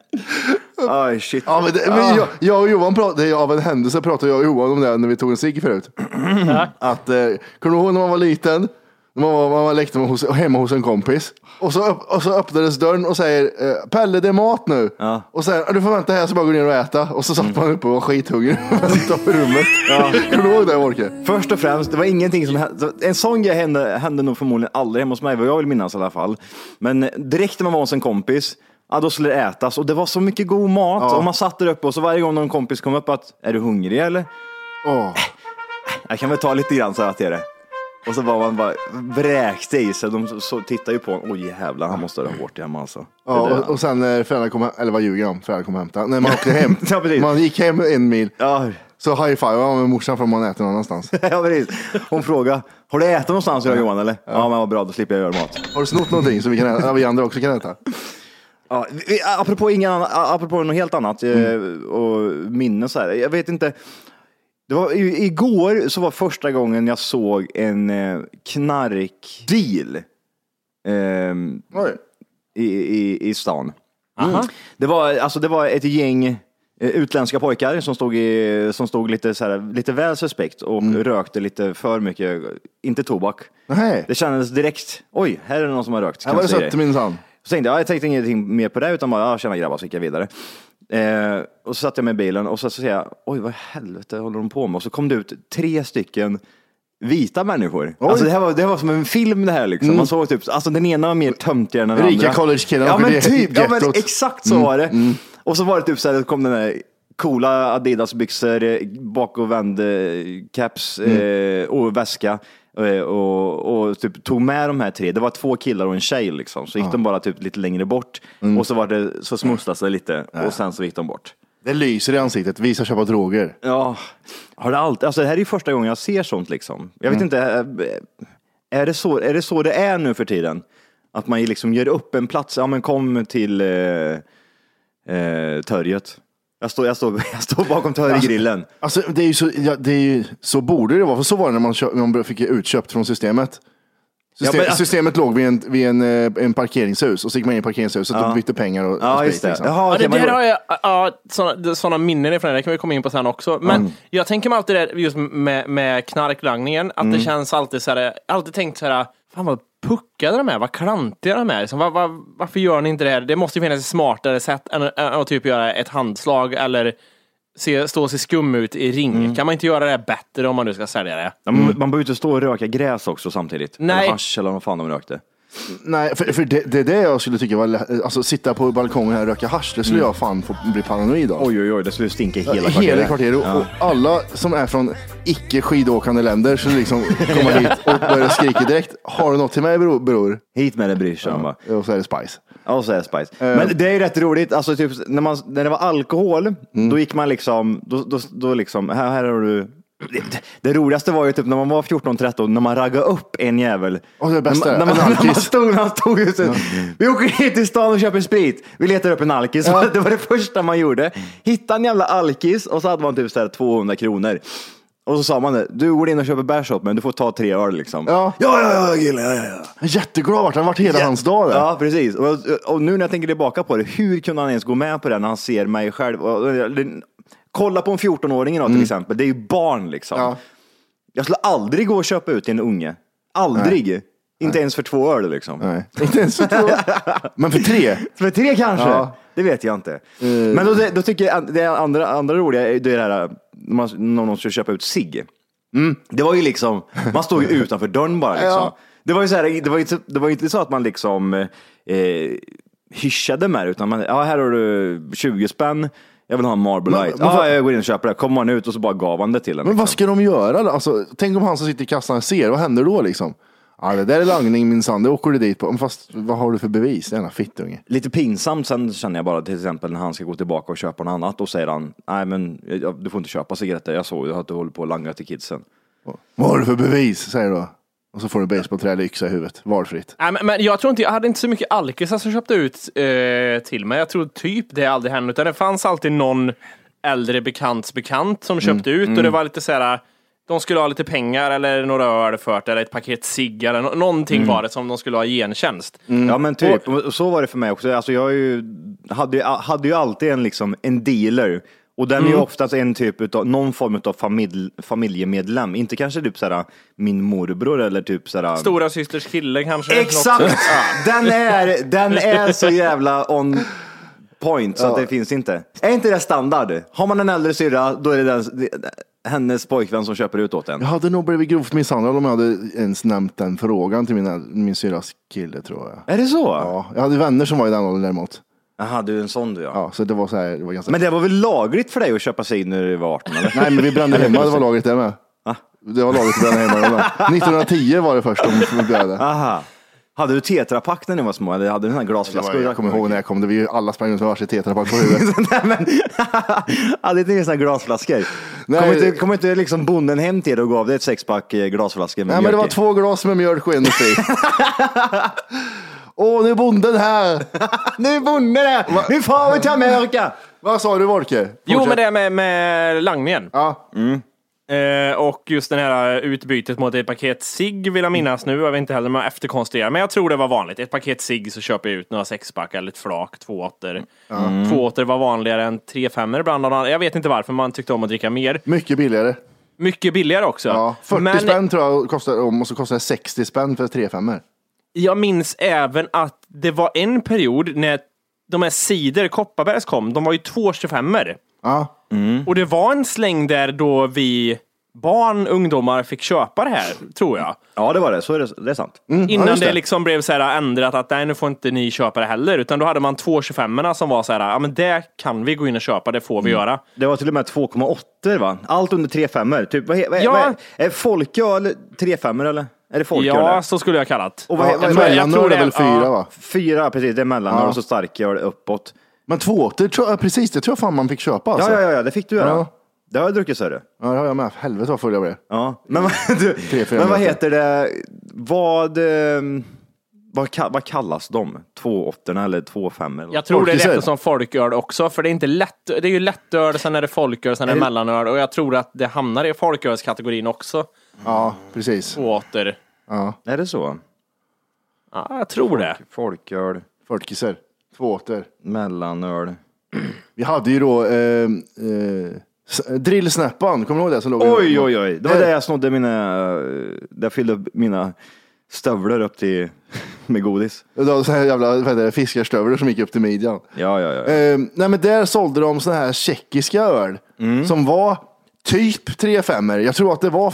[SPEAKER 7] Aj, shit.
[SPEAKER 4] Ja, men det,
[SPEAKER 7] Ah.
[SPEAKER 4] men jag, jag och Johan pratade, av en händelse pratade jag och Johan om det när vi tog en cigg förut. att, eh, kommer du ihåg när man var liten? När Man, var, man var lekte med hos, hemma hos en kompis. Och så, upp, och så öppnades dörren och säger eh, Pelle det är mat nu.
[SPEAKER 7] Ja. Mm.
[SPEAKER 4] Och sen du får vänta här så bara går ner och äta. Och så satt man uppe och var skithungrig och väntade på rummet. Kommer du ihåg det Wolke?
[SPEAKER 7] Först och främst, det var ingenting som hände. En sån grej hände, hände nog förmodligen aldrig hemma hos mig, vad jag vill minnas i alla fall. Men direkt när man var hos en kompis, ja, då skulle det ätas och det var så mycket god mat. Och man satt där uppe och så varje gång någon kompis kom upp att, är du hungrig eller?
[SPEAKER 4] Åh.
[SPEAKER 7] jag kan väl ta lite grann så här att det är det. Och så var man bara vräkte i sig. De så, så, tittade ju på honom. Oj jävlar, han måste ha hårt i hemma alltså.
[SPEAKER 4] Ja, och, och sen när föräldrarna kom hem, eller vad ljuger jag om, föräldrarna kom och hämtade. När man åkte hem,
[SPEAKER 7] Ja, precis.
[SPEAKER 4] man gick hem en mil,
[SPEAKER 7] Ja,
[SPEAKER 4] så high-fivade man med morsan för man äter någon annanstans.
[SPEAKER 7] ja precis. Hon frågade, har du ätit någonstans idag Johan eller? Ja. men vad bra, då slipper jag göra mat.
[SPEAKER 4] Har du snott någonting som vi, kan äta, ja, vi andra också kan äta?
[SPEAKER 7] Ja, vi- apropå, ingen annan, apropå något helt annat eh,
[SPEAKER 4] Mm.
[SPEAKER 7] och minnen så här. Jag vet inte. Det var, i- igår så var första gången jag såg en eh, knarkdeal ehm,
[SPEAKER 4] Oj.
[SPEAKER 7] i, i, i stan. Det, var, alltså, det var ett gäng eh, utländska pojkar som stod, i, som stod lite, så här, lite väl suspekt och rökte lite för mycket, inte tobak.
[SPEAKER 4] Mm. Nej.
[SPEAKER 7] Det kändes direkt, oj, här är det någon som har rökt.
[SPEAKER 4] Här var det
[SPEAKER 7] kanske i
[SPEAKER 4] sött minsann.
[SPEAKER 7] så tänkte jag, jag tänkte ingenting mer på det, utan bara, ja, tjena grabbar, så gick jag vidare. Eh, och så satte jag mig i bilen och så, så säger jag, oj vad i helvete håller de på med? Och så kom det ut tre stycken vita människor. Alltså det här, var, det här var som en film det här liksom. Man såg typ, alltså den ena var mer töntigare än den
[SPEAKER 4] Mm. Rika
[SPEAKER 7] andra.
[SPEAKER 4] collegekillar
[SPEAKER 7] Ja
[SPEAKER 4] åker
[SPEAKER 7] men
[SPEAKER 4] till
[SPEAKER 7] typ, ja, men
[SPEAKER 4] gettot. Mm.
[SPEAKER 7] exakt så var det. Och så var det typ så här, det kom den här coola Adidas byxor, bak och vänd eh, caps
[SPEAKER 4] Mm.
[SPEAKER 7] eh, och väska. eh, Och, och typ tog med de här tre, det var två killar och en tjej liksom. Så gick de bara typ lite längre bort
[SPEAKER 4] Mm.
[SPEAKER 7] och så, var det, så smusslades det lite och sen så gick de bort.
[SPEAKER 4] Det lyser i ansiktet, vi ska köpa droger.
[SPEAKER 7] Ja, har det allt, alltså det här är ju första gången jag ser sånt liksom. Jag vet inte, eh, är det, så, är det så det är nu för tiden? Att man liksom gör upp en plats, ja men kom till eh, eh, Törjet. Jag står, jag, står, jag står bakom Törjegrillen.
[SPEAKER 4] Alltså, det är ju så, ja, det är ju, så borde det vara, för så var det när man, kö- när man fick utköpt från systemet. System,
[SPEAKER 7] men- alltså-
[SPEAKER 4] systemet låg vid, en, vid en, eh, en parkeringshus och så gick man in i parkeringshuset och typ bytte pengar och, och
[SPEAKER 7] Ja,
[SPEAKER 4] sprit,
[SPEAKER 7] just det.
[SPEAKER 4] liksom.
[SPEAKER 7] Jaha,
[SPEAKER 5] Ja,
[SPEAKER 7] okej,
[SPEAKER 5] det
[SPEAKER 7] man
[SPEAKER 5] där
[SPEAKER 7] går-
[SPEAKER 5] har jag ja, sådana, sådana minnen ifrån, det kan vi komma in på sen också. Men jag tänker mig alltid det där, just med, med knarklangningen, att det känns alltid så här, jag har alltid tänkt så här, fan vad puckade de är, vad klantiga de är. Liksom, vad- vad- varför gör ni inte det här? Det måste ju finnas ett smartare sätt än, än att typ göra ett handslag eller se, stå och se skum ut i ring. Kan man inte göra det här bättre om man nu ska sälja det?
[SPEAKER 7] Ja, men Man behöver inte stå och röka gräs också samtidigt.
[SPEAKER 5] Nej.
[SPEAKER 7] Eller hasch eller vad fan de rökte.
[SPEAKER 4] Nej, för, för det, det är det jag skulle tycka var lä- Alltså sitta på balkongen här och röka hasch, det skulle jag fan få bli paranoid av.
[SPEAKER 7] Mm. Oj, oj, oj, det skulle stinka i hela kvarteret.
[SPEAKER 4] Hela kvarteret. Och, och alla som är från icke skidåkande länder skulle liksom komma hit och börja skrika direkt. Har du något till mig bror? bror?
[SPEAKER 7] Hit med det bryr sig han bara.
[SPEAKER 4] Och så är det Spice.
[SPEAKER 7] Ja, och så är det Spice.
[SPEAKER 4] Eh.
[SPEAKER 7] Men det är ju rätt roligt, alltså typ när, man, när det var alkohol,
[SPEAKER 4] Mm.
[SPEAKER 7] då gick man liksom, då, då, då liksom, här, här har du det, det roligaste var ju typ när man var 14-13, när man raggade upp en jävel.
[SPEAKER 4] Åh, det är det bästa,
[SPEAKER 7] när, man, när,
[SPEAKER 4] en
[SPEAKER 7] man, när man
[SPEAKER 4] alkis.
[SPEAKER 7] stod, när man stod ut, Vi åker hit till stan och köper sprit. Vi letar upp en alkis. Det var det första man gjorde. Hittade en jävla alkis och så hade man typ så här 200 kronor. Och så sa man det, du går in och köper bärs åt mig, men du får ta tre öl liksom.
[SPEAKER 4] Ja.
[SPEAKER 7] ja, ja, ja, gillar, ja, ja.
[SPEAKER 4] Jätteglad vart han varit hela hans dag. Där.
[SPEAKER 7] Ja, precis. Och, och nu när jag tänker tillbaka på det, hur kunde han ens gå med på det när han ser mig själv? Och- och- eller- Kolla på en 14-åring idag till exempel, det är ju barn liksom.
[SPEAKER 4] Mm. Ja.
[SPEAKER 7] Jag skulle aldrig gå och köpa ut till en unge. Aldrig. Inte ens för två öl liksom.
[SPEAKER 4] Nej, inte ens för två. Men för tre. Eh.
[SPEAKER 7] För tre kanske?
[SPEAKER 4] Ja.
[SPEAKER 7] Det vet jag inte. Men då, då tycker jag det andra, andra roliga är det är det här när man, när någon skulle köpa ut sig. Det var ju liksom, man stod ju utanför dörren bara. Liksom.
[SPEAKER 4] Ja.
[SPEAKER 7] Det var ju så här, det var ju inte, det var ju inte så att man liksom eh, hyschade med det, utan man, ja här har du 20 spänn, jag vill ha en Marble Light.
[SPEAKER 4] men
[SPEAKER 7] Ja,
[SPEAKER 4] vad-
[SPEAKER 7] jag går in och köper det. Kommer man ut och så bara gav han det till en.
[SPEAKER 4] Men vad
[SPEAKER 7] Liksom.
[SPEAKER 4] ska de göra? då? Alltså, tänk om han som sitter i kassan ser, vad händer då liksom? Ja, det där är langning minsann, det åker du dit på. Men Fast vad har du för bevis? Denna fittunge.
[SPEAKER 7] Lite pinsamt sen känner jag bara till exempel när han ska gå tillbaka och köpa något annat, då säger han, nej men jag- du får inte köpa cigaretter, jag såg ju att du håller på och langar till kidsen.
[SPEAKER 4] Vad har du för bevis? Säger du då. Och så får du basebollträ eller yxa i huvudet, valfritt.
[SPEAKER 5] Nej, men, men jag tror inte, jag hade inte så mycket alkisar som köpte ut eh, till mig. Jag tror typ det aldrig hände, utan det fanns alltid någon äldre bekants bekant som köpte ut och det var lite så här. De skulle ha lite pengar eller några öl för det, eller ett paket cigg eller nå- någonting var det som de skulle ha i gentjänst.
[SPEAKER 7] Ja men typ, och så var det för mig också. Alltså, jag är ju, hade, ju- hade ju alltid en, liksom, en dealer och den är ju oftast en typ utav, någon form av familj, familjemedlem. Inte kanske typ såhär, min morbror eller typ såhär.
[SPEAKER 5] Stora systers kille kanske. Något
[SPEAKER 7] Exakt!
[SPEAKER 5] sånt.
[SPEAKER 7] den, är, den är så jävla on point så att det finns inte. Är inte det standard? Har man en äldre syrra, då är det den, hennes pojkvän som köper ut åt en.
[SPEAKER 4] Jag hade nog blivit grovt misshandlad om jag hade ens nämnt den frågan till min, min syrras kille tror jag.
[SPEAKER 7] Är det så? Ja.
[SPEAKER 4] Ja, jag hade vänner som var i den åldern däremot.
[SPEAKER 7] Jaha, du är en sån du ja.
[SPEAKER 4] Ja, så det var så här, det var ganska...
[SPEAKER 7] Men det var väl lagligt för dig att köpa sig när du var 18 eller? Ah.
[SPEAKER 4] Nej, men vi brände hemma, det var lagligt det med. Det har laget bränna hemma. ibland. 1910 var det först de började.
[SPEAKER 7] Aha. Hade du tetrapack när ni var små? Eller hade du den här glasflaskor?
[SPEAKER 4] Jag kommer ihåg när jag kom, det var ju alla sprang runt med varsitt tetrapack på huvudet.
[SPEAKER 7] Nej, men, hade inte ni såna här glasflaskor?
[SPEAKER 4] Nej.
[SPEAKER 7] Kom inte, kom inte liksom bonden hem till dig och gav dig ett sexpack eh, glasflaskor med
[SPEAKER 4] Nej men det var
[SPEAKER 7] mjölk i?
[SPEAKER 4] två glas med mjölk och en sprit. Åh, nu är bonden här!
[SPEAKER 7] Nu är bonden här! Nu far vi till Amerika!
[SPEAKER 4] Vad sa du Volke?
[SPEAKER 5] Jo,
[SPEAKER 4] Fortsätt.
[SPEAKER 5] men det med, med langningen. Mm.
[SPEAKER 4] Ja,
[SPEAKER 5] Eh, och just det här utbytet mot ett paket cigg vill jag minnas nu. Jag vet inte heller om jag efterkonstruerar, men jag tror det var vanligt. Ett paket cigg så köper jag ut några sexpack eller ett flak, två åttor. Mm. Två åttor var vanligare än tre femmor ibland. Jag vet inte varför man tyckte om att dricka mer.
[SPEAKER 4] mycket billigare.
[SPEAKER 5] Mycket billigare också.
[SPEAKER 4] Ja, 40
[SPEAKER 5] Men-
[SPEAKER 4] spänn tror jag kostar om och så kostar det 60 spänn för 3 5
[SPEAKER 5] Jag minns även att det var en period när de här cider Kopparbergs kom, de var ju två 25
[SPEAKER 4] Ja,
[SPEAKER 5] Och det var en släng där då vi barn, ungdomar fick köpa det här, tror jag.
[SPEAKER 7] Ja, det var det. Så är det, det är sant.
[SPEAKER 5] Innan
[SPEAKER 4] just
[SPEAKER 5] det.
[SPEAKER 4] det.
[SPEAKER 5] liksom blev så här ändrat att nej, nu får inte ni köpa det heller, utan då hade man två 25 som var så här, ja men det kan vi gå in och köpa, det får vi göra.
[SPEAKER 7] Det var till och med 2,8 va? Allt under 3,5 typ, vad, he- vad,
[SPEAKER 5] Ja.
[SPEAKER 7] vad är, är folköl 3,5 eller? Är det folköl?
[SPEAKER 5] Ja,
[SPEAKER 7] eller?
[SPEAKER 5] så skulle jag kallat.
[SPEAKER 7] Och vad,
[SPEAKER 4] ja
[SPEAKER 7] he- vad, vad,
[SPEAKER 5] tror
[SPEAKER 4] mellanöl
[SPEAKER 5] det
[SPEAKER 4] är
[SPEAKER 5] är-
[SPEAKER 4] väl 4
[SPEAKER 5] ja.
[SPEAKER 4] va?
[SPEAKER 7] fyra, precis. Det är mellanöl och så starköl uppåt.
[SPEAKER 4] Men två det tror jag, precis det tror jag fan man fick köpa alltså.
[SPEAKER 7] Ja, ja, ja, ja, det fick du göra.
[SPEAKER 4] Ja.
[SPEAKER 7] Det har jag druckit, sa du.
[SPEAKER 4] Ja, det har jag med. Helvete vad full jag blev.
[SPEAKER 7] Ja. Men, vad- du,
[SPEAKER 4] Tre, fyra
[SPEAKER 7] men vad
[SPEAKER 4] meter.
[SPEAKER 7] heter det? Vad, ehm, vad, ka- vad kallas de? Två åttorna eller två femmor?
[SPEAKER 5] Jag tror det
[SPEAKER 4] Folkisöl.
[SPEAKER 5] räknas som folköl också, för det är inte lätt. Det är ju lättöl, sen är det folköl, sen är det mellanöl och jag tror att det hamnar i folkölskategorin också.
[SPEAKER 4] Ja, precis.
[SPEAKER 5] Två åter.
[SPEAKER 7] Är det så?
[SPEAKER 5] Ja, jag tror det.
[SPEAKER 7] Folköl,
[SPEAKER 4] 40 Två åter.
[SPEAKER 7] mellanöl.
[SPEAKER 4] Vi hade ju då eh, eh, s- drillsnäppan, kommer du ihåg det? Som låg
[SPEAKER 7] Oj, oj, oj. Det var där jag snodde mina, där jag fyllde upp mina stövlar upp till, med godis.
[SPEAKER 4] Det var så här jävla vad heter det, fiskarstövlar som gick upp till midjan.
[SPEAKER 7] Ja, ja, ja.
[SPEAKER 4] Eh, nej men där sålde de såna här tjeckiska öl som var typ 3 5 Jag tror att det var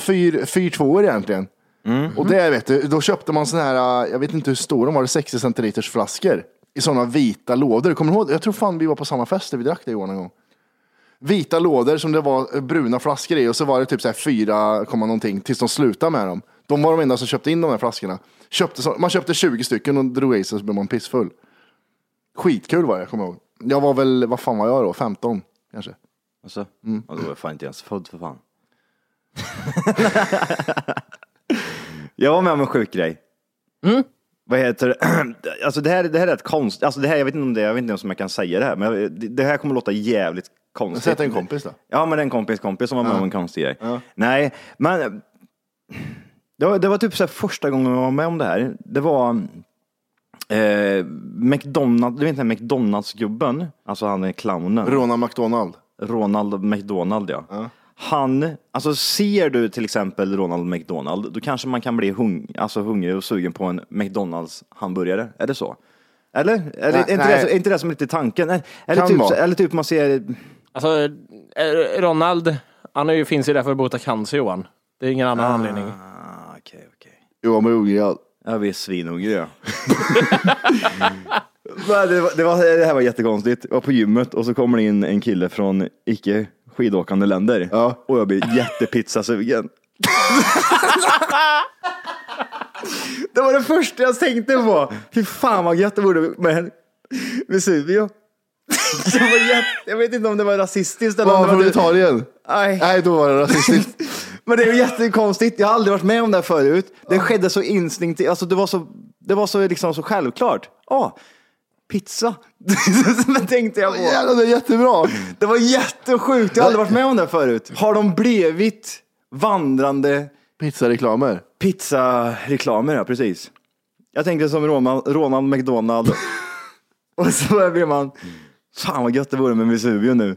[SPEAKER 4] 4 2 egentligen. Och det vet du, då köpte man såna här, eh, jag vet inte hur stora de var, 60 centiliters flaskor i sådana vita lådor. Kommer du ihåg? Jag tror fan vi var på samma fest där vi drack det Johan en gång. Vita lådor som det var eh, bruna flaskor i och så var det typ så här 4, komma någonting tills de slutade med dem. De var de enda som köpte in de här flaskorna. Köpte, så- man köpte 20 stycken och drog i sig så blev man pissfull. Skitkul var det, kommer jag ihåg. Jag var väl, vad fan var jag då? 15 kanske.
[SPEAKER 7] Alltså, mm. då var jag fan inte ens född för fan. jag var med om en sjuk grej. Vad heter det? Alltså det här, det här är rätt konstigt. Alltså det här, jag vet inte om det, jag vet inte ens om jag kan säga det här, men jag, det- det här kommer låta jävligt konstigt.
[SPEAKER 4] Säg att det är en kompis då.
[SPEAKER 7] Ja, men det är en kompis kompis som var med om en konstig grej. Nej, men det var, det var typ så här första gången jag var med om det här. Det var eh, McDonald, du vet den här McDonalds-gubben, alltså han är clownen.
[SPEAKER 4] Ronald McDonald.
[SPEAKER 7] Ronald McDonald ja. Han, alltså ser du till exempel Ronald McDonald, då kanske man kan bli hung, alltså hungrig och sugen på en McDonalds hamburgare. Är det så? Eller? Är, det,
[SPEAKER 4] Nej,
[SPEAKER 7] är, inte,
[SPEAKER 4] nej.
[SPEAKER 7] det, är inte det som är lite tanken? Är, eller,
[SPEAKER 4] Kan
[SPEAKER 7] typ,
[SPEAKER 4] vara.
[SPEAKER 7] så- eller typ man ser,
[SPEAKER 5] Alltså, eh, Ronald, han är ju, finns ju där för att bota cancer, Johan. Det är ingen annan anledning.
[SPEAKER 7] ah, okej, okej.
[SPEAKER 4] Johan Berggren.
[SPEAKER 7] Ja, vi är svinhungriga. ja. Mm. Men det, var, det, var, det här var jättekonstigt. Jag var på gymmet och så kommer det in en kille från icke skidåkande länder
[SPEAKER 4] Ja.
[SPEAKER 7] och jag blir jättepizzasugen. det var det första jag tänkte på. Fy fan vad gött det vore med Vesuvio. det var jätte, jag vet inte om det var rasistiskt eller om
[SPEAKER 4] Var
[SPEAKER 7] det
[SPEAKER 4] från
[SPEAKER 7] var... typ-
[SPEAKER 4] Italien?
[SPEAKER 7] Nej.
[SPEAKER 4] Nej, då var det rasistiskt.
[SPEAKER 7] Men det är ju jättekonstigt. Jag har aldrig varit med om det här förut. Det skedde så instinktivt. Alltså det var så, det var så, liksom så självklart. Ja, pizza. det tänkte jag på.
[SPEAKER 4] Jävlar, det är jättebra.
[SPEAKER 7] Det var jättesjukt. Jag har aldrig varit med om det här förut. Har de blivit vandrande
[SPEAKER 4] Pizzareklamer.
[SPEAKER 7] pizzareklamer? Ja, precis. Jag tänkte som Roma- Ronald McDonald. Och så blir man, fan vad gött det vore med Vesuvio nu.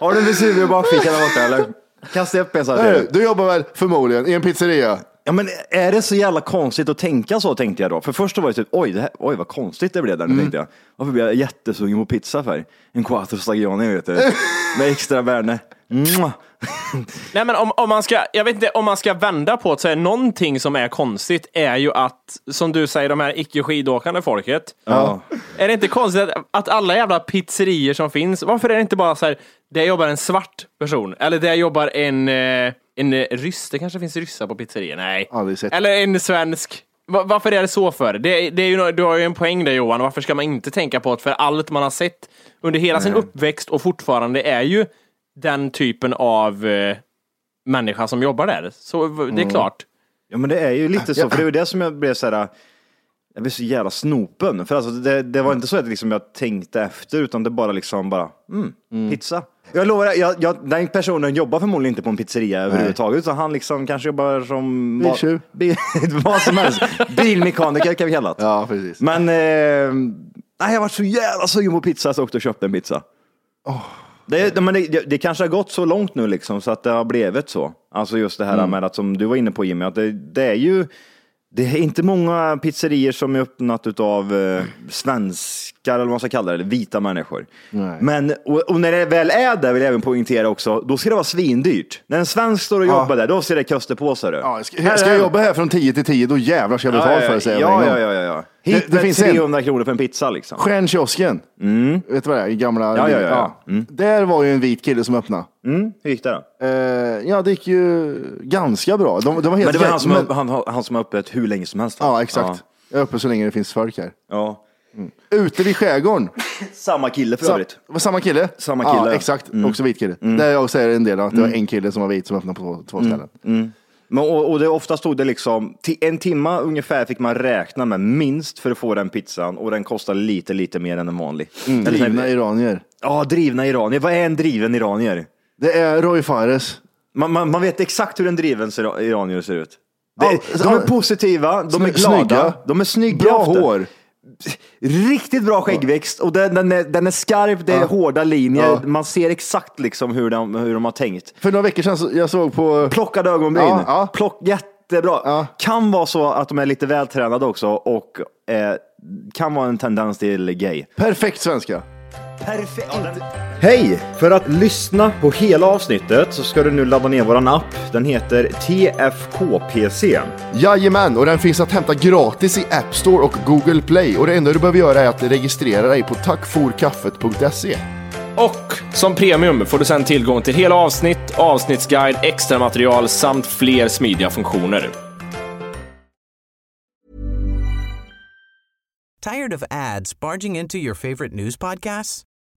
[SPEAKER 7] Har du en Vesuvio i bakfickan där borta eller? Kasta upp en så här. till dig.
[SPEAKER 4] Du, du jobbar väl förmodligen i en pizzeria?
[SPEAKER 7] Ja, men är det så jävla konstigt att tänka så tänkte jag då. För först så var det typ, oj, det här, oj vad konstigt det blev där nu tänkte jag. Varför blir jag jättesugen på pizza för? En quattro stagioni vet du. Med extra värne. Mwah.
[SPEAKER 5] Nej, men om, om man ska, jag vet inte, om man ska vända på det så är någonting som är konstigt är ju att, som du säger, de här icke skidåkande folket.
[SPEAKER 7] Ja.
[SPEAKER 5] Är det inte konstigt att, att alla jävla pizzerior som finns, varför är det inte bara så här, där jobbar en svart person, eller där jobbar en, eh, En eh, ryss, det kanske finns ryssar på pizzerior? Nej.
[SPEAKER 4] Aldrig sett.
[SPEAKER 5] Eller en svensk. Va- Varför är det så för? Det, det är ju, nå- du har ju en poäng där Johan, varför ska man inte tänka på att för allt man har sett under hela sin uppväxt och fortfarande är ju den typen av eh, människa som jobbar där. Så v- det är klart.
[SPEAKER 7] Ja men det är ju lite så, för det är ju det som jag blev så här. äh, Jag blev så jävla snopen. För alltså, det, det var inte så att liksom jag tänkte efter, utan det bara liksom bara, mm, pizza. Jag lovar, jag, jag, den personen jobbar förmodligen inte på en pizzeria överhuvudtaget, utan han liksom kanske jobbar som... vad-
[SPEAKER 4] Biltjuv.
[SPEAKER 7] Bil, vad som helst. Bilmekaniker kan vi kalla det.
[SPEAKER 4] Ja, precis.
[SPEAKER 7] Men, eh, nej, jag var så jävla sugen på pizza så jag åkte och köpte en pizza. Det, det, men det, det, det kanske har gått så långt nu liksom så att det har blivit så. Alltså just det här
[SPEAKER 4] Mm.
[SPEAKER 7] med att som du var inne på Jimmy, att det, det är ju det är inte många pizzerier som är öppnat utav eh, svenskar eller vad man ska kalla det, eller vita människor. Men, och, och när det väl är där vill jag även poängtera också, då ska det vara svindyrt. När en svensk står och jobbar där, då ser det kosta på sig. du.
[SPEAKER 4] Ja, ska, ska jag jobba här från 10 till 10, då jävlar ska jag betala för det. säger jag
[SPEAKER 7] Ja,
[SPEAKER 4] med en
[SPEAKER 7] ja,
[SPEAKER 4] gång.
[SPEAKER 7] ja, ja, ja.
[SPEAKER 4] Det-
[SPEAKER 7] Hit
[SPEAKER 4] det
[SPEAKER 7] med
[SPEAKER 4] finns en-
[SPEAKER 7] 300 kronor för en pizza liksom.
[SPEAKER 4] Stjärnkiosken, vet du vad det är? I gamla...
[SPEAKER 7] Mm. Ja, ja, ja, ja.
[SPEAKER 4] Där var ju en vit kille som öppnade.
[SPEAKER 7] Mm, hur gick det då?
[SPEAKER 4] Eh, ja, det gick ju ganska bra. De, de var helt
[SPEAKER 7] Men det var
[SPEAKER 4] okej,
[SPEAKER 7] han som,
[SPEAKER 4] men-
[SPEAKER 7] han, han som har öppet hur länge som helst.
[SPEAKER 4] Ja, exakt. Jag är uppe så länge det finns folk här.
[SPEAKER 7] Ja.
[SPEAKER 4] Ute vid skärgården.
[SPEAKER 7] Samma kille för
[SPEAKER 4] Sa,
[SPEAKER 7] övrigt.
[SPEAKER 4] var samma kille?
[SPEAKER 7] Samma kille,
[SPEAKER 4] Ja,
[SPEAKER 7] ja.
[SPEAKER 4] exakt. Också vit kille. Där jag säger en del att det var en kille som var vit som öppnade på två, två ställen.
[SPEAKER 7] Men, och, och det ofta stod det liksom, till en timma ungefär fick man räkna med minst för att få den pizzan och den kostade lite, lite mer än en vanlig. Eller så här-
[SPEAKER 4] Mm. Drivna iranier.
[SPEAKER 7] Ja, drivna iranier. Vad är en driven iranier?
[SPEAKER 4] Det är Roy Fares.
[SPEAKER 7] Man, man, man vet exakt hur en driven ser- iranier ser ut. Det,
[SPEAKER 4] Ja,
[SPEAKER 7] de är
[SPEAKER 4] ja.
[SPEAKER 7] positiva, de är
[SPEAKER 4] Sny-
[SPEAKER 7] glada,
[SPEAKER 4] snygga.
[SPEAKER 7] de är snygga.
[SPEAKER 4] Bra
[SPEAKER 7] ofta.
[SPEAKER 4] hår.
[SPEAKER 7] Riktigt bra skäggväxt och den, den, är, den är skarp, det är hårda linjer.
[SPEAKER 4] Ja.
[SPEAKER 7] Man ser exakt liksom hur de, hur de har tänkt.
[SPEAKER 4] För några veckor sedan så, jag såg på...
[SPEAKER 7] Plockade ögonbryn.
[SPEAKER 4] Ja, ja.
[SPEAKER 7] Plock, jättebra.
[SPEAKER 4] Ja.
[SPEAKER 7] Kan vara så att de är lite vältränade också och eh, kan vara en tendens till gay.
[SPEAKER 4] Perfekt svenska.
[SPEAKER 7] Perfekt. Hej! För att lyssna på hela avsnittet så ska du nu ladda ner våran app. Den heter TFKPC.
[SPEAKER 4] Jajamän, och den finns att hämta gratis i App Store och Google Play. Och det enda du behöver göra är att registrera dig på tackforkaffet.se.
[SPEAKER 5] Och som premium får du sedan tillgång till hela avsnitt, avsnittsguide, extra material samt fler smidiga funktioner.
[SPEAKER 2] Tired of ads barging into your favorite news podcasts?